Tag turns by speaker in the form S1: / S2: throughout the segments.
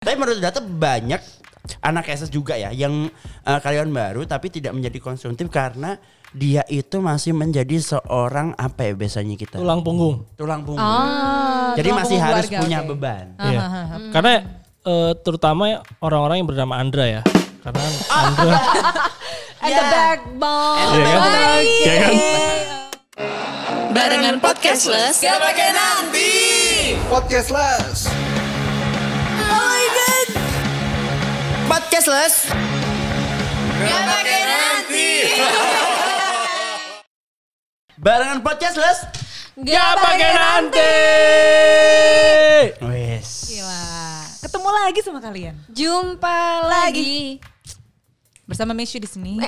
S1: Tapi menurut data banyak anak SS juga ya yang eh, karyawan baru tapi tidak menjadi konsumtif karena dia itu masih menjadi seorang apa ya biasanya kita
S2: tulang punggung.
S1: tulang punggung.
S3: Ah,
S1: Jadi
S3: tulang
S1: masih
S3: punggung
S1: harus
S3: keluarga,
S1: punya
S3: oke.
S1: beban.
S2: Iya. Karena eh, terutama ya orang-orang yang bernama Andra ya. Karena Andra
S3: At the backbone.
S2: Iya kan? Iya kan?
S4: Barengan podcastless gak pakai nanti.
S5: Podcastless.
S1: Podcastless.
S4: Gak pakai nanti.
S1: Barengan podcastless.
S3: Gak
S2: Ya, pakai nanti.
S1: Wes.
S6: Gila. Ketemu lagi sama kalian.
S3: Jumpa lagi.
S6: Bersama Mesyu di sini.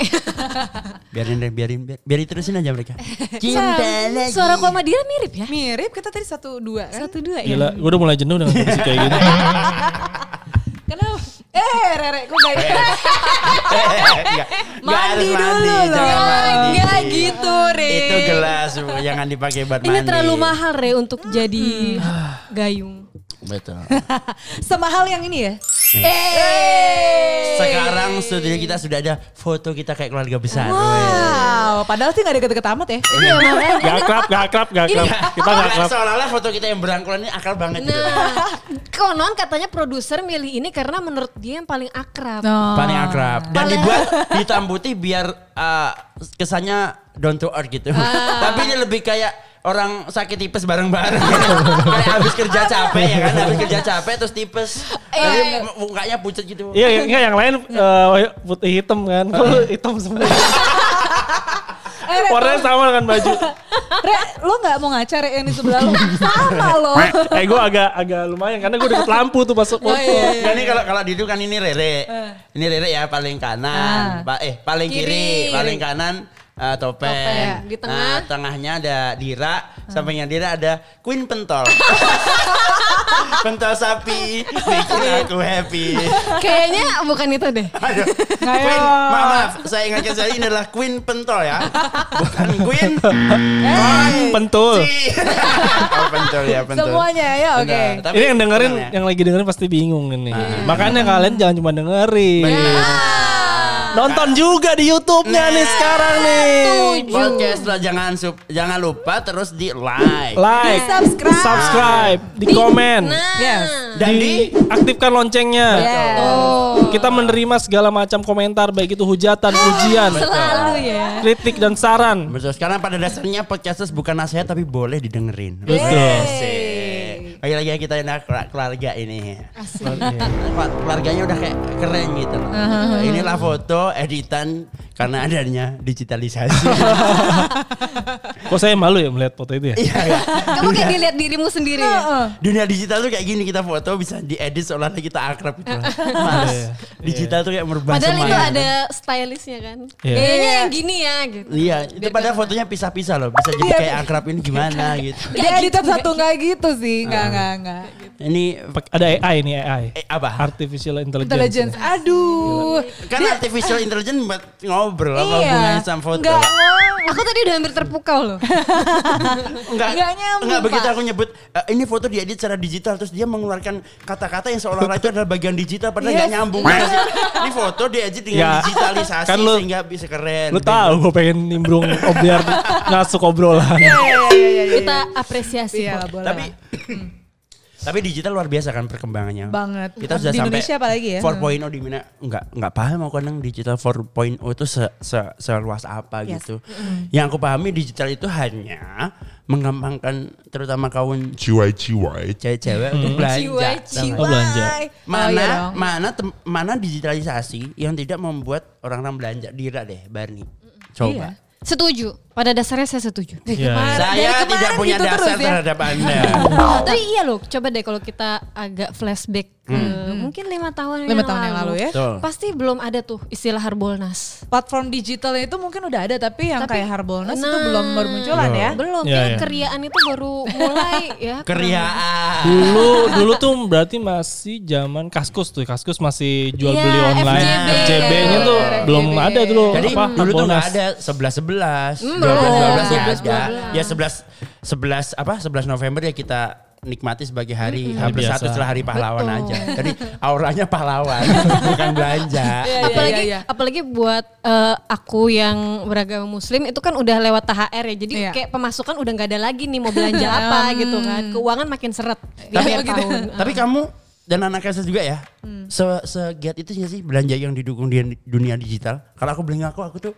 S1: Biarin deh, biarin biar- biarin terusin aja mereka. Cinta lagi.
S3: Suara gua sama dia mirip ya.
S6: Mirip kita tadi satu dua kan?
S3: Satu dua ya.
S2: gila, gue udah mulai jenuh dengan kondisi kayak gini.
S6: Kenapa? Eh, Rere, kok gak
S1: Nggak- nggak harus
S6: Mandi dulu
S1: jangan mandi.
S6: Enggak gitu, Re.
S1: Itu gelas, Bu. jangan dipakai buat mandi.
S3: Ini terlalu mahal Re untuk jadi gayung.
S1: Betul.
S6: Semahal yang ini ya? Eh.
S1: Nih. Sekarang studio kita sudah ada foto kita kayak keluarga besar. wes.
S6: Wow, padahal sih gak deket-deket amat ya.
S3: Iya makanya.
S2: Gak akrab, gak akrab, gak akrab. Iya, Kita gak
S1: Karena
S2: akrab.
S1: Iya. seolah-olah foto kita yang berangkulan ini akal banget gitu.
S3: Nah, konon katanya produser milih ini karena menurut dia yang paling akrab.
S6: Oh.
S1: Paling akrab. Dan dibuat hitam putih biar uh, kesannya down to earth gitu. Tapi ini lebih kayak orang sakit tipes bareng-bareng. gitu. kayak habis kerja capek ya kan, habis kerja capek terus tipes. Tapi mukanya pucat gitu.
S2: Iya, yang, enggak, yang lain eh, putih hitam kan. Kalau hitam semua. Warnanya sama dengan baju.
S6: Eh, Re, lo gak mau ngaca Re yang di sebelah lo? Sama lo.
S2: Eh gue agak agak lumayan karena gue deket lampu tuh pas foto.
S1: Nah, ini kalau kalau duduk kan ini Rere. Ini Rere ya paling kanan, pa- eh paling kiri,
S6: Kiri.
S1: paling kanan eh, topeng.
S3: Topeng. Di
S1: Nah,
S3: tengah.
S1: tengahnya ada Dira, sampingnya Dira ada Queen Pentol. Pentol sapi bikin aku happy.
S3: Kayaknya bukan itu deh.
S1: Aduh. Queen, maaf, maaf, saya ingatkan saya ini adalah Queen Pentol ya. Bukan Queen.
S2: Pentul.
S1: Si. oh, pentol ya, pentol.
S6: Semuanya ya, oke.
S1: Benar. Tapi
S2: ini yang dengerin,
S1: tenang ya. Ah.
S2: yang lagi dengerin pasti bingung ini. Makanya kalian jangan cuma dengerin. Nonton juga di
S1: Nah.
S2: YouTube-nya nih sekarang nih.
S1: Podcast lah jangan sup- jangan lupa terus di like.
S2: Like,
S6: Subscribe. Nah.
S2: subscribe, di komen,
S6: Yes.
S1: Dan di-
S2: aktifkan loncengnya.
S6: Yes.
S2: Kita menerima segala macam komentar baik itu hujatan, ujian,
S3: Selalu ya.
S2: kritik dan saran.
S1: Betul. Sekarang pada dasarnya podcasters bukan nasihat tapi boleh didengerin.
S2: Betul.
S1: Asik. Lagi-lagi kita ini keluar- keluarga ini. Keluar- Keluarganya udah kayak keren gitu loh.
S3: Uh-huh.
S1: Inilah foto editan karena adanya digitalisasi.
S2: Kok saya malu ya melihat foto itu ya?
S1: Iya, iya.
S3: Kamu kayak dilihat dirimu sendiri ya.
S1: Dunia digital tuh kayak gini kita foto bisa diedit seolah-olah kita akrab gitu. loh. Males. Digital tuh kayak merubah
S3: Iya. Padahal
S1: semuanya.
S3: itu ada stylistnya kan.
S2: Iya.
S3: Kayaknya yang gini ya gitu.
S1: Iya, itu padahal fotonya pisah-pisah loh. Bisa
S6: Iya,
S1: jadi kayak akrab ini gimana gitu.
S6: Dia editan Iya, satu gak gitu sih. Gak, gak, gak.
S3: gitu.
S1: Ini
S2: Pak- Ada AI nih AI.
S1: eh, apa?
S2: Artificial Intelligence.
S6: Intelligence. Aduh.
S1: Kan artificial intelligence buat ngobrol apa
S6: Iya.
S1: hubungannya sama foto.
S6: Nggak ngomong.
S3: Aku tadi udah hampir terpukau loh.
S1: Enggak,
S6: Nggak nyambung,
S1: enggak begitu
S6: Pak.
S1: aku nyebut "Eh, ini foto diedit secara digital terus dia mengeluarkan kata-kata yang seolah-olah itu adalah bagian digital padahal nggak
S6: Yes.
S1: nyambung. Nggak sih? ini foto diedit dengan
S2: Ya,
S1: digitalisasi
S2: kan lu-
S1: sehingga bisa keren.
S2: Lu tahu gue pengen nimbrung oh, biar ngasuk obrolan.
S3: Iya, Kita apresiasi.
S6: Iya,
S3: Pak.
S6: boleh.
S1: Tapi Tapi digital luar biasa kan perkembangannya.
S6: Banget.
S1: Kita sudah
S6: Di
S1: sampai
S6: Indonesia apalagi ya.
S1: 4.0 di mana enggak enggak paham aku kadang digital 4.0 itu se, se- seluas apa
S6: Yes.
S1: gitu. Yang aku pahami digital itu hanya menggampangkan terutama kaum
S5: Ciwai-ciwai.
S1: cewek-cewek untuk belanja.
S3: Jiwa-jiwa.
S2: Oh, belanja.
S1: Mana
S6: Oh, iya dong.
S1: mana tem- mana digitalisasi yang tidak membuat orang-orang belanja dira deh Barney. Coba.
S3: Setuju. Pada dasarnya saya setuju. Gitu.
S1: Saya
S2: Iya.
S6: Iya. Dari
S1: tidak
S6: kemarin
S1: punya
S6: gitu
S1: dasar
S6: terus ya.
S1: terhadap Anda.
S3: Tapi iya loh, coba deh kalau kita agak flashback ke
S2: Hmm.
S3: mungkin lima tahun
S6: Hmm. Lima tahun yang lalu ya.
S1: Betul.
S3: Pasti belum ada tuh istilah Harbolnas.
S6: platform digitalnya itu mungkin udah ada tapi yang
S3: Tapi-
S6: kayak Harbolnas itu
S3: Nah.
S6: belum bermunculan ya.
S3: Belum,
S2: Iya,
S3: kayak
S2: iya.
S3: keriaan itu baru mulai ya.
S1: Keriaan.
S2: Dulu dulu tuh berarti masih zaman kaskus tuh. Kaskus masih jual
S3: Iya,
S2: beli online.
S3: FJB.
S2: FJB-nya tuh
S6: Iya,
S2: belum
S6: FJB.
S2: ada dulu
S1: Jadi
S2: apa?
S1: dulu tuh
S2: bonus.
S1: nggak ada sebelas sebelas,
S3: Hmm,
S1: dua belas dua belas
S3: 12,
S1: ada. Ya sebelas sebelas apa sebelas November ya kita nikmati sebagai hari H
S2: Hari
S1: plus satu
S2: biasa.
S1: setelah hari pahlawan
S3: Hmm. Betul.
S1: aja. Jadi auranya pahlawan, bukan belanja.
S3: Iya, apalagi
S6: Iya,
S3: apalagi buat eh, aku yang beragama muslim itu kan udah lewat THR ya jadi
S6: Iya. Hmm.
S3: kayak pemasukan udah nggak ada lagi nih mau belanja apa gitu kan keuangan makin seret di
S6: Iya,
S1: Tapi,
S3: akhir
S6: gitu.
S3: tahun
S1: tapi kamu dan anak Elsa juga ya.
S3: Hmm.
S1: Se segiat itu nggak sih belanja yang didukung di dunia digital. Kalau aku beli ngaku aku tuh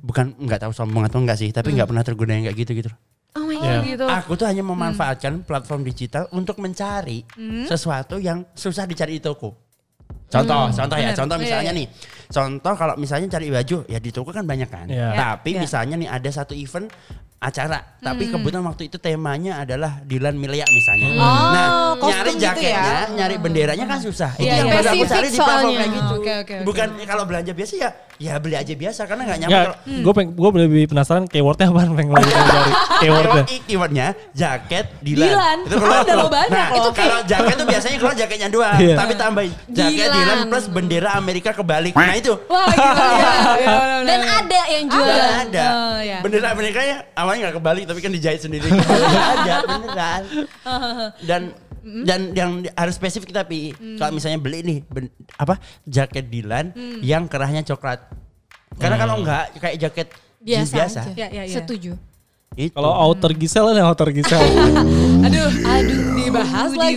S1: bukan nggak tahu sombong atau enggak sih,
S3: Hmm.
S1: tapi nggak pernah tergoda yang kayak gitu-gitu.
S6: Oh my
S2: Iya.
S6: god gitu.
S1: Aku tuh hanya memanfaatkan platform digital untuk mencari
S6: Hmm.
S1: sesuatu yang susah dicari di toko. Contoh, contoh ya,
S6: Bener.
S1: contoh
S6: Iya,
S1: misalnya
S6: iya.
S1: nih. Contoh kalau misalnya cari baju ya di toko kan banyak kan.
S2: Iya.
S6: Ya,
S1: Tapi misalnya nih ada satu event acara, tapi
S6: Hmm.
S1: kebetulan waktu itu temanya adalah Dilan Milia misalnya. Nah,
S6: Oh,
S1: nyari
S6: kostum gitu
S1: jaketnya,
S6: ya.
S1: nyari benderanya kan susah. Itu
S3: Iya,
S1: yang
S3: iya.
S1: baru aku cari di
S3: Spesifik
S1: platform
S3: soalnya.
S1: kayak gitu.
S6: Oke, oke, oke.
S1: Bukan kalau belanja biasa ya, ya beli aja biasa karena nggak nyaman.
S2: Enggak,
S1: kalau-
S2: gue peng, gue lebih penasaran keywordnya apa pengen lebih dari keywordnya.
S1: Keyword- keywordnya jaket Dilan.
S6: Dilan. Ada loh banyak
S1: nah,
S6: loh.
S1: Itu kalau jaket tuh biasanya keluar jaketnya dua,
S2: Iya.
S1: tapi tambahin jaket
S3: Dilan.
S1: Dilan. plus bendera Amerika kebalik. Nah itu.
S6: Wah gitu ya. Iya, bener-bener.
S3: dan ada yang jual
S1: Nggak ada.
S6: Oh, iya.
S1: Bendera Amerika ya awalnya nggak kebalik tapi kan dijahit sendiri. Nggak ada beneran. Dan dan yang harus spesifik tapi
S6: Mm.
S1: kalau misalnya beli nih ben- apa jaket Dilan
S6: Mm.
S1: yang kerahnya coklat. Karena kalau enggak kayak jaket jeans
S3: biasa,
S1: biasa.
S3: aja.
S6: Iya, iya, iya.
S3: setuju
S1: Itu.
S2: Kalau outer Gisel ada outer Gisel.
S6: Aduh, aduh dibahas lagi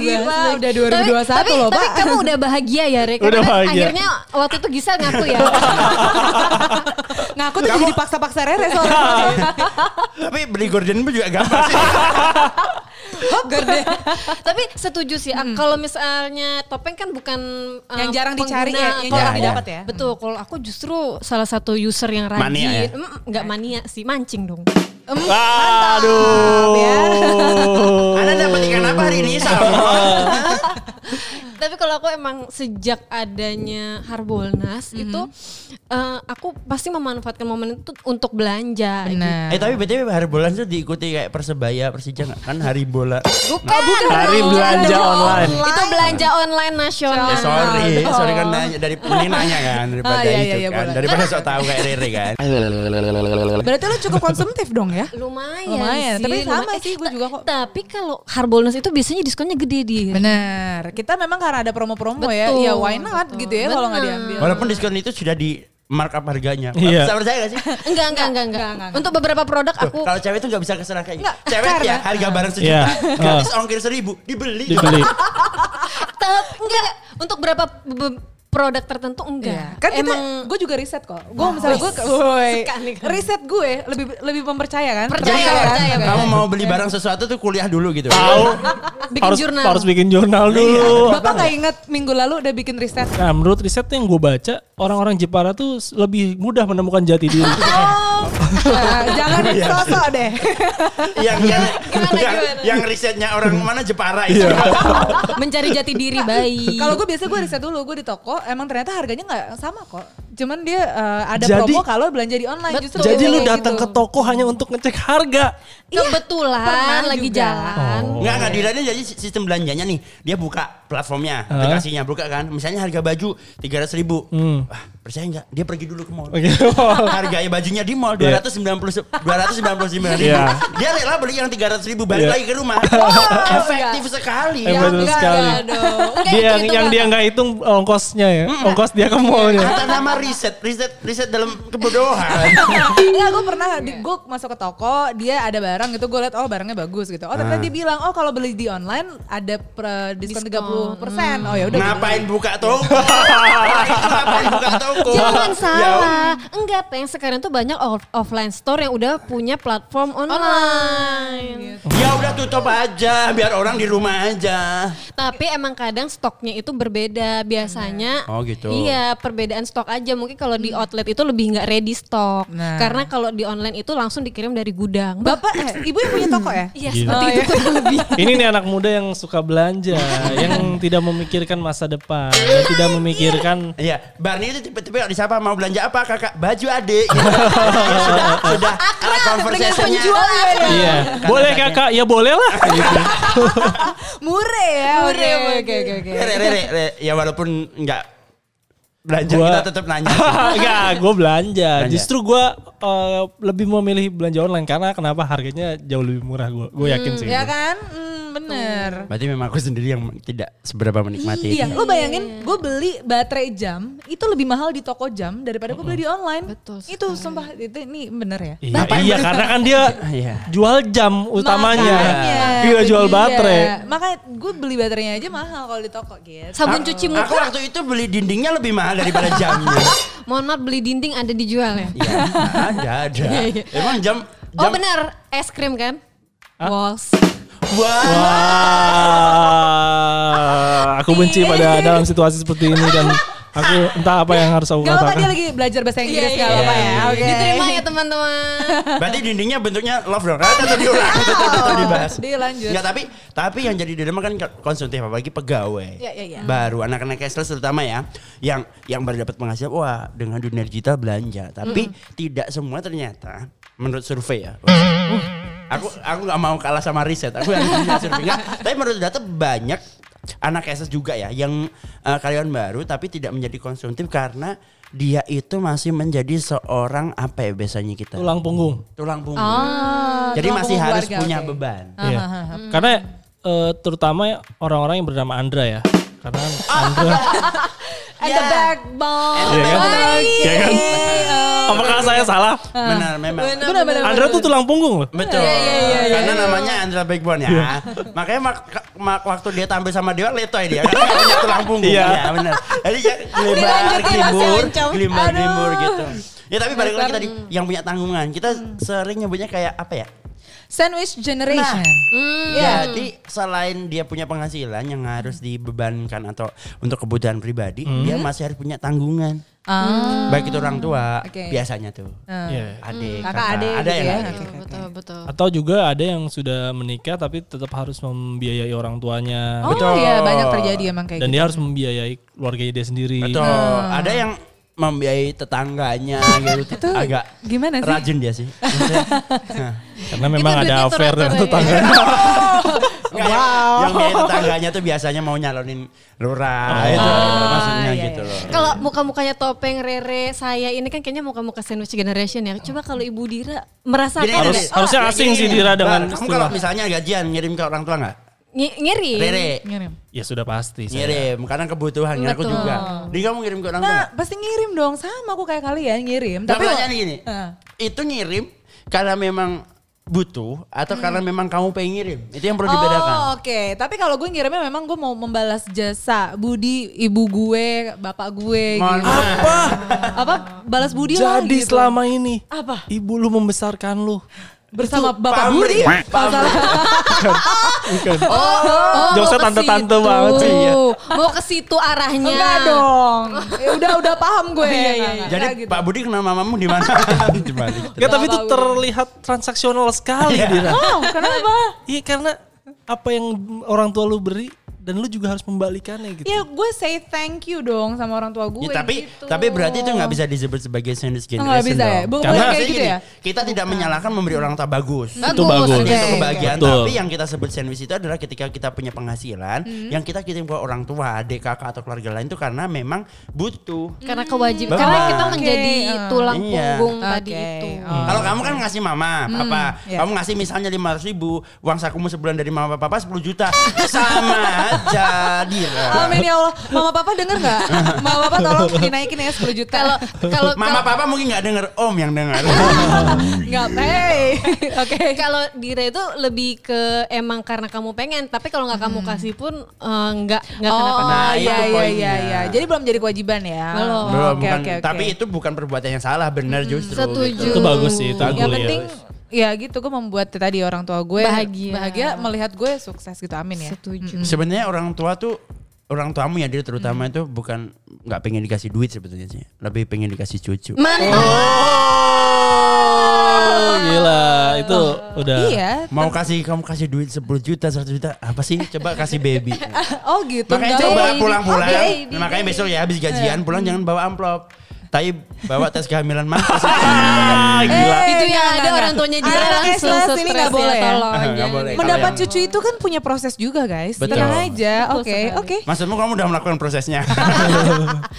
S6: Pak.
S3: Dibahas lagi.
S6: Udah
S3: Tapi-
S6: 2021
S3: tapi,
S6: loh
S3: tapi
S6: Pak.
S3: kamu udah bahagia ya Rek
S2: Udah
S3: Karena kan
S2: bahagia.
S3: akhirnya waktu itu Gisel ngaku ya
S6: Nah aku tuh jadi dipaksa-paksa rere soalnya.
S1: Tapi beli gorden pun juga gampang sih.
S6: Hop, gede.
S3: tapi setuju sih ah, kalau misalnya topeng kan bukan eh,
S6: Hmm. Yang jarang dicari ya, yang
S3: Kalau-
S1: jarang
S3: iya,
S1: didapat
S6: ya.
S3: betul kalau aku justru salah satu user yang rajin
S1: Mania ya?
S3: Mm, nggak mania sih mancing dong
S2: Aduh.
S6: ya.
S1: Anda dapat ikan apa hari ini sama?
S3: tapi kalau aku emang sejak adanya Harbolnas itu eh, aku pasti memanfaatkan momen itu untuk belanja
S6: Nah.
S3: gitu.
S1: eh tapi btw hari bulan tuh diikuti kayak persebaya persija nggak kan hari bola.
S3: gitu.
S1: Kan
S3: bukan,
S2: Hari
S3: dong.
S2: belanja online.
S3: itu belanja online nasional
S1: Eh, sorry, sorry kan nanya dari ini nanya kan daripada
S6: Ah, iya,
S1: itu
S6: iya, iya,
S1: kan
S6: boleh.
S1: daripada sok tahu kayak Rere kan.
S6: Berarti lu cukup konsumtif dong ya?
S3: lumayan,
S6: Lumayan,
S3: sih,
S6: tapi sama
S3: lumayan.
S6: sih, gua juga kok.
S3: tapi kalau Harbolnas itu biasanya diskonnya gede di
S6: Bener. Kita memang karena ada promo-promo ya.
S3: Betul,
S6: Ya why not
S3: betul.
S6: gitu ya kalau nggak
S3: Bener.
S6: diambil.
S1: Walaupun diskon itu sudah di markup harganya.
S2: Iya.
S1: Bisa percaya gak sih?
S3: Enggak, enggak, enggak, enggak. Untuk beberapa produk
S1: Tuh,
S3: aku
S1: Kalau cewek tuh gak bisa keserah kayak gitu.
S6: Nggak,
S1: Cewek ya
S6: karena-
S1: harga barang sejuta,
S2: Iya.
S1: gratis ongkir seribu, dibeli.
S2: Dibeli.
S3: tetap enggak untuk berapa be- produk tertentu enggak.
S6: Kan kita,
S3: Emang
S6: gue juga riset kok. Gue misalnya gue, woi, riset gue lebih lebih mempercaya kan?
S3: Percaya,
S1: Jadi
S6: Terbuka
S1: kalau
S6: kan?
S3: percaya,
S6: Oke.
S1: kamu mau beli barang sesuatu tuh kuliah dulu gitu.
S2: Tahu.
S3: Bikin
S2: harus,
S3: jurnal. Iya.
S2: harus bikin jurnal dulu.
S6: Bapak nggak inget minggu lalu udah bikin riset?
S2: Nah, menurut riset yang gue baca, orang-orang Jepara tuh lebih mudah menemukan jati diri.
S6: Eh, jangan
S2: Iya.
S6: sosok deh.
S1: yang yang,
S3: Gimana,
S1: yang,
S3: gimana?
S1: yang risetnya orang mana Jepara itu.
S3: mencari jati diri baik.
S6: Kalau gue biasa gue riset dulu, gue di toko, emang ternyata harganya nggak sama kok. Cuman dia eh, ada
S2: Jadi-
S6: promo kalau belanja di online.
S3: Betul.
S6: Justru
S2: Jadi
S6: kayak
S2: lu
S6: gitu.
S2: datang ke toko hanya untuk ngecek harga.
S3: kebetulan
S6: pernah
S3: lagi
S6: juga.
S3: jalan.
S1: Enggak, enggak Dilannya jadi sistem belanjanya nih. Dia buka platformnya, aplikasinya buka kan. Misalnya harga baju 300 ribu. Wah, percaya enggak? Dia pergi dulu ke mall.
S2: Oke.
S1: Harganya bajunya di mall
S2: Iya.
S1: 290 299 ribu.
S2: Iya.
S1: Dia rela beli yang 300 ribu balik
S2: Iya.
S1: lagi ke rumah. Efektif sekali.
S2: Eh, betul
S6: Iya, enggak,
S2: sekali.
S6: enggak kan. dong.
S3: Enggak,
S2: Dia yang,
S3: itu-itu
S2: yang dia
S3: banget.
S2: nggak hitung ongkosnya ya, ongkos dia ke ya? mallnya.
S1: Atas nama riset, riset, riset dalam kebodohan.
S6: Enggak, gue pernah di, gue masuk ke toko, dia ada barang gitu, gue liat oh barangnya bagus gitu. Oh
S2: Ah.
S6: ternyata dia bilang oh kalau beli di online ada per- diskon 30 persen. Oh ya udah. gue
S1: Ngapain buka toko? Ngapain buka toko?
S3: Jangan
S1: Ya
S3: salah. Enggak, Peng. Sekarang tuh banyak off- offline store yang udah punya platform online.
S1: Ya udah tutup aja, biar orang di rumah aja.
S3: Tapi emang kadang stoknya itu berbeda biasanya.
S1: Oh, gitu.
S3: Iya, perbedaan stok aja. Mungkin kalau di outlet itu lebih nggak ready stok.
S6: Nah.
S3: Karena kalau di online itu langsung dikirim dari gudang.
S6: Bapak, eh, ibu yang punya toko ya?
S3: Iya,
S2: Gila.
S3: seperti
S6: Oh,
S3: itu
S6: iya.
S3: kurang lebih.
S2: Ini nih anak muda yang suka belanja, yang tidak memikirkan masa depan, yang tidak memikirkan
S1: Iya, Barney itu tipe-tipe kalau disapa mau belanja apa kakak baju adik. Gitu. sudah sudah ada conversation-nya.
S3: penjual.
S6: ya,
S2: Iya, boleh kakak, ya boleh lah. Gitu.
S6: Mure ya. oke,
S3: Mure, mure.
S6: Oke oke oke.
S1: Re, re, re, re. Ya walaupun nggak belanja
S2: Gua-
S1: kita tetap nanya.
S2: Enggak, gue belanja.
S1: Belanja.
S2: Justru gue lebih memilih belanja online karena kenapa harganya jauh lebih murah gue. Gue yakin sih.
S6: Ya
S2: itu.
S6: kan? Hmm, bener.
S1: Berarti memang aku sendiri yang tidak seberapa menikmati
S6: Iya,
S1: itu.
S6: lu bayangin gue beli baterai jam itu lebih mahal di toko jam daripada gue beli di online.
S3: Betul
S6: Itu sumpah itu ini bener ya.
S2: Iya, iya, karena kan dia
S1: Iya.
S2: jual jam utamanya.
S6: Makanya, Iya.
S2: Gila
S6: itu
S2: jual
S6: dia.
S2: baterai.
S6: Makanya gue beli baterainya aja mahal kalau di toko gitu.
S2: Ah.
S3: Sabun cuci muka.
S1: Aku waktu itu beli dindingnya lebih mahal daripada jamnya.
S3: Mohon maaf beli dinding ada dijual ya.
S1: Iya, ada ada. Emang jam jam.
S3: Iya, Oh benar, es krim kan? Walls.
S1: Wah.
S2: Wah, Ah, aku benci pada dalam situasi seperti ini dan aku entah apa yang harus aku
S6: Gak apa-apa dia
S2: katakan.
S6: lagi belajar bahasa Inggris
S3: Iya,
S6: gak apa-apa ya. Oke.
S3: Diterima ya teman-teman.
S1: Berarti dindingnya bentuknya love dong. Nah, tetap diulang, tetap, tetap dibahas.
S6: Dilanjut.
S1: Enggak, tapi tapi yang jadi dilema kan konsumtif apalagi pegawai.
S6: Iya, iya, iya.
S1: Baru anak-anak cashless terutama ya yang yang baru dapat penghasilan wah dengan dunia digital belanja. Tapi tidak semua ternyata menurut survei ya. aku aku nggak mau kalah sama riset. Aku yang punya survei Nggak, Tapi menurut data banyak anak SS juga ya yang eh, karyawan baru tapi tidak menjadi konsumtif karena dia itu masih menjadi seorang apa ya biasanya kita
S2: Tulang punggung.
S1: tulang punggung.
S6: Ah,
S1: Jadi
S6: tulang
S1: masih
S6: punggung
S1: harus
S6: keluarga,
S1: punya
S6: oke. Ah.
S1: beban.
S2: Iya. Karena eh, terutama orang-orang yang bernama Andra ya. Karena
S6: Oh.
S2: Andra.
S6: At the backbone.
S2: Iya kan? Iya kan? Apakah saya salah?
S1: Benar memang.
S6: Benar-benar.
S2: Andra tuh tulang punggung loh.
S1: Betul.
S6: Iya,
S1: Karena namanya Andra Backbone ya. Makanya mak- mak- waktu dia tampil sama Dewa letoy dia. Karena dia punya tulang punggung.
S2: Iya.
S1: ya, benar. Jadi dia gelimbang,
S6: Dilanjutin, masih
S1: gelimbur,
S6: oncom.
S1: gelimbang,
S6: Aduh.
S1: gelimbur gitu. Ya tapi balik lagi tadi yang punya tanggungan. Kita
S6: Hmm.
S1: sering nyebutnya kayak apa ya?
S6: Sandwich generation. Hmm, iya.
S1: Jadi selain dia punya penghasilan yang harus dibebankan atau untuk kebutuhan pribadi, dia masih harus punya tanggungan.
S6: Ah.
S1: Baik itu orang tua
S6: Hmm. Oke.
S1: biasanya tuh.
S2: Iya.
S1: Adik,
S6: Hmm, Kakak,
S1: kakak,
S6: adik
S1: ada
S6: gitu
S1: yang
S6: ya.
S1: kayak gitu.
S6: Oke, oke.
S3: Betul betul.
S2: Atau juga ada yang sudah menikah tapi tetap harus membiayai orang tuanya.
S6: Oh
S1: Betul.
S6: iya banyak terjadi emang kayak
S2: Dan
S6: gitu.
S2: dia harus membiayai keluarganya dia sendiri.
S1: Betul. Ada yang membiayai tetangganya gitu.
S6: Itu
S1: Agak
S6: gimana sih?
S1: rajin dia sih. Maksudnya, nah,
S2: Karena memang
S3: Kita
S2: ada
S3: duitnya
S2: affair
S3: teratur
S2: dengan
S6: iya.
S3: ya.
S2: tetangga.
S1: enggak, yang- ya, Yang biayai tetangganya tuh biasanya mau nyalonin
S6: Oh.
S1: lurah itu gitu. maksudnya
S6: iya,
S1: gitu
S6: iya.
S1: loh.
S3: Kalau muka-mukanya topeng Rere saya ini kan kayaknya muka-muka sandwich generation ya. Coba kalau Ibu Dira merasakan
S1: Gini,
S2: Harus-
S1: gini.
S3: ada-
S2: harusnya
S1: Gini,
S2: asing
S1: gini,
S2: sih
S1: gini.
S2: Dira
S1: Bar,
S6: kan.
S2: dengan
S1: Kamu
S2: istilah.
S1: kalau misalnya gajian ngirim ke orang tua enggak?
S3: Ngi- ngiri.
S1: Rere.
S6: Ngirim.
S2: Ya sudah pasti.
S6: Iya.
S2: saya.
S1: Ngirim karena kebutuhan kan aku
S3: Betul.
S1: juga. Jadi kamu ngirim ke orang tua?
S6: Nah,
S1: nggak?
S6: pasti ngirim dong. Sama aku kayak kalian ngirim.
S1: Tapi
S6: Tapi
S1: pertanyaan gini,
S6: Eh.
S1: itu ngirim karena memang butuh atau karena memang kamu pengen ngirim? Itu yang perlu dibedakan.
S6: Oh oke, tapi kalau gue ngirimnya memang gue mau membalas jasa budi ibu gue, bapak gue
S1: Mohon
S6: gitu.
S1: maaf.
S2: Apa?
S6: Apa balas budi lah
S2: Jadi
S6: gitu.
S2: selama ini
S6: Apa?
S2: ibu lu membesarkan lu.
S6: bersama
S1: Itu
S6: bapak
S1: pamri
S6: budi.
S1: ya?
S6: Kalau salah-
S3: Oh,
S2: Jokesnya
S3: mau ke
S2: tante-tante
S3: situ.
S2: banget sih, iya.
S3: Mau ke situ arahnya.
S6: Enggak dong. Ya udah udah paham gue. Iya, iya, iya.
S1: Jadi Pak Budi kenal mamamu di mana? di Bali.
S2: Nggak, tapi itu
S6: Bapak gue.
S2: terlihat transaksional sekali Dira.
S6: Oh, kenapa?
S2: Iya karena apa yang orang tua lu beri dan lu juga harus membalikannya gitu.
S6: Ya gue say thank you dong sama orang tua gue.
S1: Ya, tapi
S6: gitu.
S1: tapi berarti itu nggak bisa disebut sebagai sandwich generation
S6: nggak bisa ya?
S1: dong.
S6: Bu-
S1: Karena
S6: kayak gitu
S1: gini,
S6: ya?
S1: kita tidak menyalahkan memberi orang tua bagus.
S2: Itu
S1: Itu
S2: bagus.
S6: Oke,
S1: kebahagiaan,
S2: oke.
S1: tapi
S2: Betul.
S1: yang kita sebut sandwich itu adalah ketika kita punya penghasilan,
S6: Hmm.
S1: yang kita kirim ke orang tua, adik, kakak atau keluarga lain itu karena memang butuh.
S3: Karena
S1: Bapak.
S3: kewajiban. Karena kita
S1: Oke,
S3: menjadi
S6: ah.
S3: tulang
S1: Iya.
S3: punggung
S6: Oke,
S3: tadi itu.
S6: oh.
S1: Kalau kamu kan ngasih mama, papa,
S6: iya.
S1: kamu ngasih misalnya lima ribu, uang sakumu sebulan dari mama papa 10 juta, sama aja Dira.
S6: Amin ya Allah. Mama papa denger gak? Mama papa tolong dinaikin ya 10 juta.
S3: Kalau kalau
S1: Mama papa mungkin nggak denger, om yang denger.
S6: Nggak, hey. Oke.
S3: Kalau Dira itu lebih ke emang karena kamu pengen, tapi kalau nggak kamu kasih pun eh, nggak nggak
S6: Oh,
S3: kenapa-napa.
S1: Nah, itu
S6: iya, iya, iya,
S1: poinnya.
S6: iya. Jadi belum jadi kewajiban ya?
S3: Belum.
S1: Belum,
S6: Oke,
S1: bukan-
S6: oke, Hmm, oke.
S1: Tapi itu bukan perbuatan yang salah, benar justru.
S3: Setuju.
S1: gitu.
S2: Itu bagus sih, itu iya.
S6: Yang
S2: aku lihat.
S6: penting ya gitu gue membuat tadi orang tua gue
S3: Bahagia.
S6: bahagia melihat gue sukses gitu amin ya.
S3: Setuju.
S1: Sebenarnya orang tua tuh orang tuamu ya dia terutama
S6: Hmm.
S1: itu bukan nggak pengen dikasih duit sebetulnya sih, lebih pengen dikasih cucu.
S6: Hmm.
S2: Oh, gila, itu udah.
S6: Iya.
S1: Mau kasih kamu kasih duit 10 juta, 100 juta, apa sih? Coba kasih baby.
S6: Oh gitu.
S1: makanya
S6: enggak.
S1: coba
S6: Baby.
S1: pulang-pulang.
S6: Oh, baby. Hmm.
S1: makanya besok ya habis gajian pulang jangan bawa amplop. Tapi bawa tes kehamilan mantas.
S2: Gila.
S6: Eh,
S3: Itu yang
S6: enggak,
S3: ada
S6: enggak.
S3: orang tuanya dia
S6: Anak
S3: langsung
S6: kelas ini
S3: stres ya
S6: nggak boleh ya?
S3: tolong.
S1: Nggak
S3: jangan.
S1: boleh.
S6: Mendapat
S1: Kalian.
S6: cucu itu kan punya proses juga guys.
S1: Betul.
S6: Tenang aja.
S3: Betul
S6: Oke,
S3: sekali.
S6: oke.
S1: Maksudmu kamu udah melakukan prosesnya?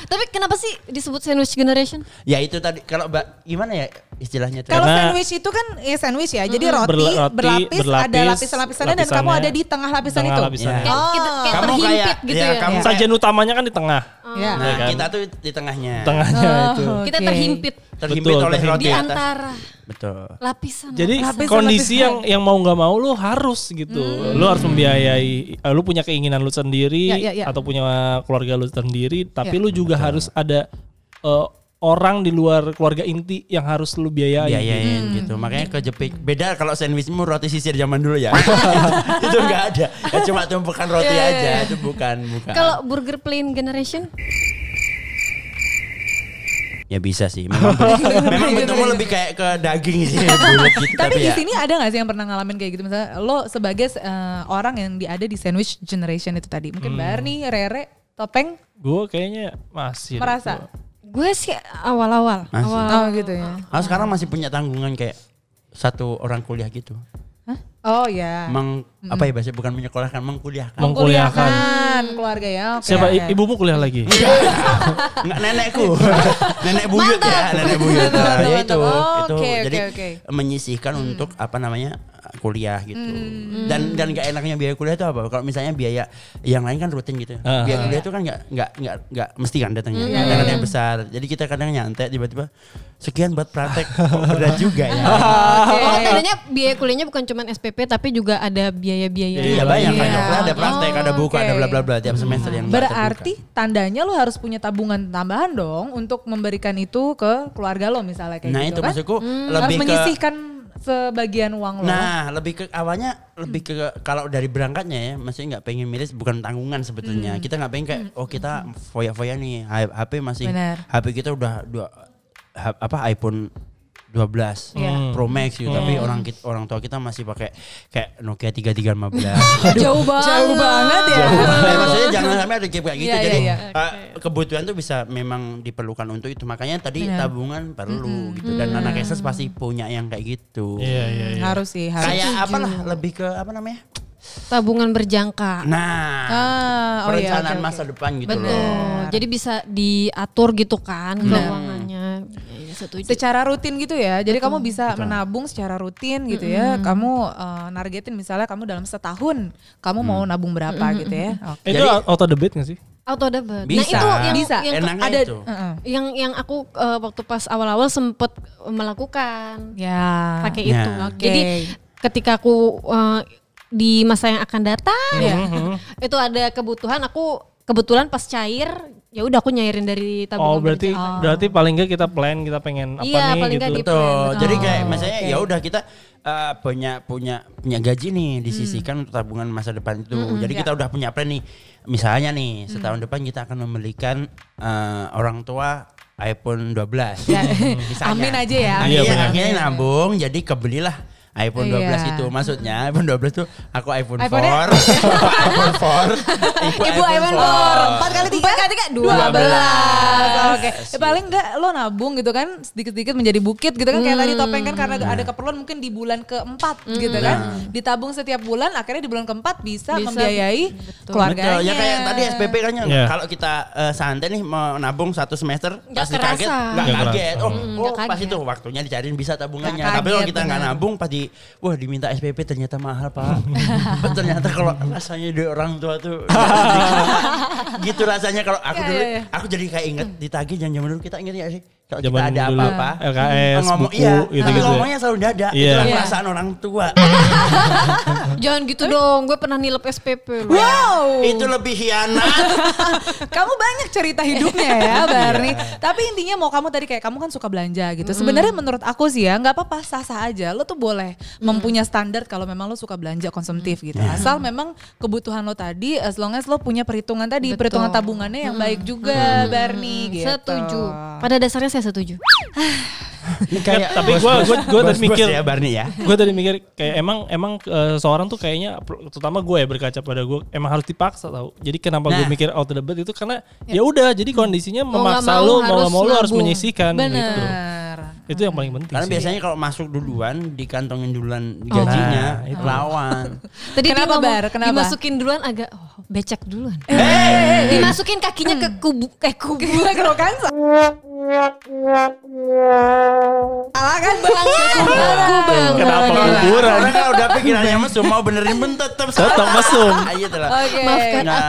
S3: Tapi kenapa sih disebut sandwich generation?
S1: ya itu tadi kalau Mbak gimana ya istilahnya tuh?
S6: Kalau
S2: Karena-
S6: sandwich itu kan ya sandwich ya. Jadi roti,
S2: Berla- roti,
S6: berlapis, ada
S2: berlapis,
S6: lapisan-lapisannya dan kamu
S2: lapisannya.
S6: ada di tengah lapisan
S2: Tengah
S6: itu. Iya.
S2: lapisannya.
S1: Ya.
S3: Kayak kita kayak
S1: Kamu
S3: terhimpit
S1: kayak-
S3: gitu
S1: ya,
S3: ya.
S1: kamu-
S2: Sajian utamanya kan di tengah.
S6: Ya.
S1: Nah,
S2: Ya kan?
S1: kita tuh di tengahnya.
S2: Tengahnya
S6: Oh.
S2: itu.
S3: Kita
S6: Oke.
S3: terhimpit
S1: Terhimpit
S2: Betul,
S1: oleh
S2: terhimpit.
S1: roti
S3: di
S1: atas. Nah.
S3: antara
S1: Betul.
S3: lapisan.
S2: Jadi
S6: Lapisan,
S2: kondisi
S6: lapisan.
S2: yang yang mau nggak mau lu harus gitu. Lu harus membiayai eh, lu punya keinginan lu sendiri
S6: Hmm. Ya, ya, ya.
S2: atau punya keluarga lu sendiri, tapi lu juga harus ada eh, orang di luar keluarga inti yang harus lu biayai.
S1: biayain
S3: Hmm.
S1: gitu. Makanya kejepit. Beda kalau sandwichmu roti sisir zaman dulu ya. itu enggak ada. Ya, cuma tumpukan roti
S3: Iya, iya,
S1: aja.
S3: iya.
S1: Itu bukan bukan.
S3: kalau burger plain generation
S1: ya bisa sih. Memang,
S3: Iya,
S1: memang bentukmu lebih kayak ke daging sih. bulat gitu.
S6: Tapi di
S1: ya,
S6: sini ada nggak sih yang pernah ngalamin kayak gitu misalnya lo sebagai eh, orang yang di- ada di sandwich generation itu tadi
S1: Hmm.
S6: mungkin Barney, Rere, Topeng
S2: Gue kayaknya masih
S6: merasa
S3: gue sih awal-awal.
S1: Masih.
S3: Awal.
S6: oh gitu ya.
S1: Ah, sekarang masih punya tanggungan kayak satu orang kuliah gitu.
S6: Hah? Oh
S3: Ah.
S6: ya.
S1: Meng
S3: Hmm.
S1: apa ya bahasa bukan menyekolahkan, mengkuliahkan.
S2: mengkuliahkan.
S6: keluarga ya. oke,
S2: Siapa
S6: oke.
S2: i- ibumu kuliah lagi?
S1: Enggak nenekku. nenek buyut ya,
S3: Mantap.
S1: nenek buyut.
S6: Mantap,
S1: Nah, ya
S6: mantap,
S1: itu,
S6: mantap.
S1: itu.
S6: Oke, oke,
S1: Jadi
S6: oke. Hmm.
S1: menyisihkan untuk apa namanya? kuliah gitu. Dan dan gak enaknya biaya kuliah itu apa? Kalau misalnya biaya yang lain kan rutin gitu.
S2: Ah.
S1: Biaya kuliah itu kan nggak nggak nggak nggak mesti kan
S6: Hmm,
S1: datangnya. Kadang
S6: iya,
S1: ada yang besar. Jadi kita kadang nyantai tiba-tiba sekian buat praktek Kok berat juga ya.
S3: Oh, tandanya biaya kuliahnya bukan cuma SPP tapi juga ada biaya-biaya.
S1: Iya banyak kan. Kalau ada praktek, ada buku,
S6: Oke. Hmm.
S1: ada bla bla bla tiap semester yang nggak
S6: Berarti tandanya lo harus punya tabungan tambahan dong untuk memberikan itu ke keluarga lo misalnya kayak
S1: terbuka. Nah,
S6: gitu
S1: itu
S6: kan.
S1: maksudku
S3: Hmm.
S6: harus
S1: lebih ke
S6: menyisihkan sebagian uang lo.
S1: Nah, lebih ke awalnya lebih ke kalau dari berangkatnya ya, masih nggak pengen miris bukan tanggungan sebetulnya.
S6: Hmm.
S1: Kita nggak pengen kayak oh kita foya-foya nih H- HP masih
S6: Benar.
S1: HP kita udah dua ha- apa iPhone 12
S6: Iya.
S1: Pro Max gitu, tapi orang kita, orang tua kita masih pakai kayak Nokia 3315.
S6: jauh banget. Jauh banget ya.
S1: Nah, maksudnya jangan sampai ada gap kayak gitu.
S6: Iya, iya,
S1: Jadi
S6: iya.
S1: eh, kebutuhan tuh bisa memang diperlukan untuk itu. Makanya tadi
S6: Benar.
S1: tabungan perlu gitu dan anak SS pasti punya yang kayak gitu
S2: Iya, iya, iya.
S6: Harus sih, harus.
S1: kayak apalah lebih ke apa namanya
S3: Tabungan berjangka.
S1: nah
S6: Ah, oh iya,
S1: perencanaan
S6: oke, oke.
S1: masa depan gitu
S3: Betul.
S1: loh
S3: Oh, Jadi bisa diatur gitu kan
S1: Nah.
S3: keuangannya. Iya, setuju.
S6: secara rutin gitu ya. Jadi kamu bisa menabung secara rutin gitu ya. Kamu eh, nargetin misalnya kamu dalam setahun kamu mau nabung berapa gitu ya. Oke.
S2: Itu
S1: Jadi-
S2: auto debit gak sih?
S3: Auto debit. Nah,
S1: Bisa.
S3: itu yang
S6: Bisa.
S3: yang ke-
S1: enaknya
S6: ada
S1: itu
S6: Heeh.
S3: yang yang aku eh, waktu pas awal-awal sempet melakukan
S6: Ya.
S3: pakai
S1: Ya.
S3: itu.
S6: Oke.
S3: Jadi ketika aku eh, di masa yang akan datang ya,
S6: Iya.
S3: itu ada kebutuhan aku kebetulan pas cair ya udah aku nyairin dari tabungan
S2: Oh, berarti
S6: ya.
S3: berjangka.
S2: berarti paling nggak kita plan kita pengen apa
S3: Iya,
S2: nih
S3: paling nggak
S2: gitu.
S3: di-
S1: betul
S6: Betul.
S1: jadi kayak
S6: Oh,
S1: misalnya
S6: oke.
S1: ya udah kita eh, punya punya punya gaji nih
S6: Hmm.
S1: disisihkan untuk tabungan masa depan itu
S6: ya.
S1: jadi kita udah punya plan nih misalnya nih
S6: Hmm.
S1: setahun depan kita akan membelikan eh, orang tua iPhone 12
S6: Ya.
S1: Misalnya.
S6: Amin aja ya.
S1: Akhirnya-
S2: Iya, benar.
S1: akhirnya nabung jadi kebelilah iPhone 12
S6: Iya.
S1: itu maksudnya iPhone 12 tuh aku iPhone 4
S6: iPhone-nya-
S1: iPhone 4
S6: Ibu Iwan Bor, empat kali tiga, empat kali tiga, dua belas. Oke, Ya, paling enggak lo nabung gitu kan, sedikit-sedikit menjadi bukit gitu kan, kayak tadi topeng kan karena ada keperluan mungkin di bulan keempat gitu kan, ditabung setiap bulan, akhirnya di bulan keempat bisa,
S3: Bisa.
S6: membiayai keluarganya.
S1: Betul, ya kayak tadi SPP kan ya,
S2: Iya.
S1: kalau kita eh, santai nih mau nabung satu semester
S3: Nggak
S1: pasti
S3: kerasa.
S1: kaget, nggak
S2: Nggak
S1: kaget.
S2: kerasa.
S1: Oh, oh,
S3: nggak
S1: pas
S3: kaget.
S1: itu waktunya dicariin bisa tabungannya.
S6: Hmm, Nggak
S1: Tapi kalau
S6: kaget,
S1: kita nggak
S6: benar.
S1: nabung pasti wah diminta SPP ternyata mahal, Pak. ternyata kalau rasanya di orang tua tuh gitu rasanya kalau aku
S6: Iya,
S1: dulu
S6: iya, iya.
S1: aku jadi kayak inget ditagih jangan zaman dulu kita inget ya sih kalau kita
S2: Zaman
S1: ada
S2: dulu,
S1: apa-apa
S2: LKS,
S1: ngomong
S2: buku,
S1: iya,
S2: gitu-gitu
S1: tapi
S2: ya.
S1: ngomongnya selalu dada.
S2: Iya.
S1: Itulah
S6: Iya.
S1: perasaan orang tua.
S3: jangan
S6: Eh?
S3: gitu dong gue pernah nilep SPP loh
S6: Wow,
S1: Itu lebih hianat.
S6: kamu banyak cerita hidupnya ya
S1: Iya.
S6: Barney. Tapi intinya mau kamu tadi kayak kamu kan suka belanja gitu. Sebenarnya menurut aku sih ya nggak apa-apa sah-sah aja. Lo tuh boleh
S1: Mm.
S6: mempunyai standar kalau memang lo suka belanja konsumtif gitu. Asal memang kebutuhan lo tadi, as long as lo punya perhitungan tadi,
S3: Betul.
S6: perhitungan tabungannya yang baik juga, Barney. Gitu.
S3: setuju pada dasarnya saya setuju
S1: Ini kayak
S2: Tapi gua- gua- gua tadi
S1: bos-bos
S2: mikir.
S1: ya Barney ya.
S2: gue tadi mikir kayak emang emang eh, seorang tuh kayaknya terutama gue ya berkaca pada gue emang harus dipaksa tau jadi kenapa gue
S1: Nah.
S2: mikir out of the bed itu karena ya udah jadi kondisinya
S6: Mau nggak
S2: memaksa
S6: mau
S2: lo mau
S6: harus
S2: nggak mau lo harus
S6: nabung.
S2: menyisihkan gitu
S6: Bener.
S2: itu yang paling penting
S1: Karena
S2: sih.
S1: biasanya kalau masuk duluan dikantongin duluan gajinya
S2: Nah, Oh. itu.
S1: lawan.
S3: Tadi dia
S6: Kenapa,
S3: ngomong,
S6: Bar? Kenapa? Eh.
S3: Dimasukin duluan agak oh, becek duluan.
S2: Eh,
S3: Dimasukin kakinya
S6: Hmm.
S3: ke kubu eh kubu.
S6: Gila
S1: Gitu.
S6: kerokan Salah kan bang
S3: Kubang.
S2: kenapa kuburan
S1: Orang kalau udah pikirannya mesum mau benerin pun tetap
S2: tetap mesum
S1: Ayo Ah, iya, telah.
S6: Oke
S3: Maafkan ya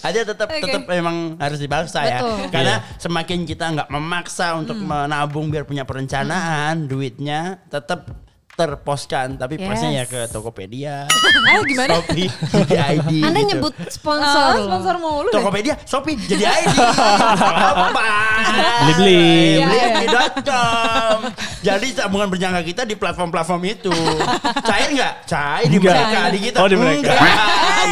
S1: Nah, aja tetap tetap memang harus dipaksa ya.
S3: Betul. Hmm.
S1: Karena
S2: Iya.
S1: semakin kita nggak memaksa untuk menabung biar punya perencanaan, duitnya tetap terposkan tapi posnya ya
S6: Yes.
S1: ke Tokopedia,
S6: Ah gimana?
S1: Shopee, jadi ID.
S3: Anda
S1: gitu.
S3: nyebut
S6: Ah,
S3: sponsor.
S1: Oh.
S6: sponsor mulu deh.
S1: Tokopedia, Shopee jadi ID. Apa?
S2: Beli-beli.
S6: Iya.
S1: Beli.com. Jadi sambungan berjangka kita di platform-platform itu. Cair nggak? Cair di
S2: Enggak.
S1: mereka, di kita.
S2: Oh, di mereka.
S1: Enggak,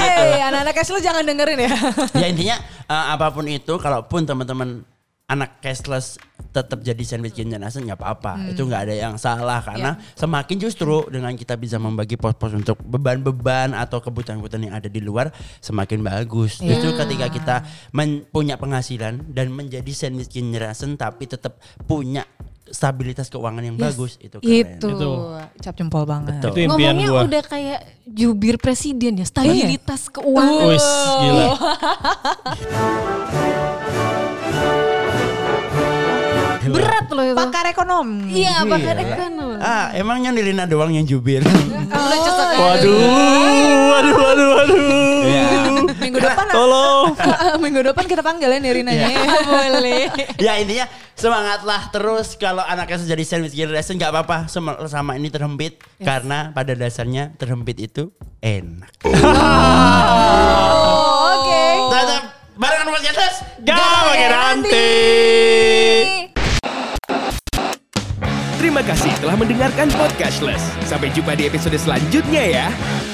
S1: gitu.
S6: Hey, anak-anak cash lo jangan dengerin ya.
S1: ya intinya eh, apapun itu kalaupun teman-teman anak cashless tetap jadi sandwich generation nggak apa-apa itu nggak ada yang salah karena semakin justru dengan kita bisa membagi pos-pos untuk beban-beban atau kebutuhan-kebutuhan yang ada di luar semakin bagus justru ketika kita men- punya penghasilan dan menjadi sandwich generation tapi tetap punya stabilitas keuangan yang bagus itu keren
S6: Itu.
S2: Itu.
S6: Cap jempol banget.
S1: Betul.
S2: itu impian
S3: Ngomongnya
S2: gue
S3: udah kayak jubir presiden ya, stabilitas
S6: Oh, iya.
S3: keuangan.
S2: Wis gila.
S3: Berat loh itu.
S6: Pakar ekonomi.
S3: Iya, pakar ekonomi.
S1: ah emangnya Nirina doang yang jubir Iya.
S6: ya?
S2: Waduh, waduh, waduh, waduh.
S1: Iya.
S6: Minggu depan
S2: Tolong.
S6: Minggu depan kita panggil ya Nirina ya. Boleh.
S1: ya intinya semangatlah terus kalau anaknya sudah jadi sandwich generation nggak apa-apa Sem- sama ini terhempit karena pada dasarnya terhempit itu enak.
S6: Oke.
S1: Tetap barengan podcast terus.
S2: Gak pakai nanti.
S7: Terima kasih telah mendengarkan Podcastless. Sampai jumpa di episode selanjutnya ya.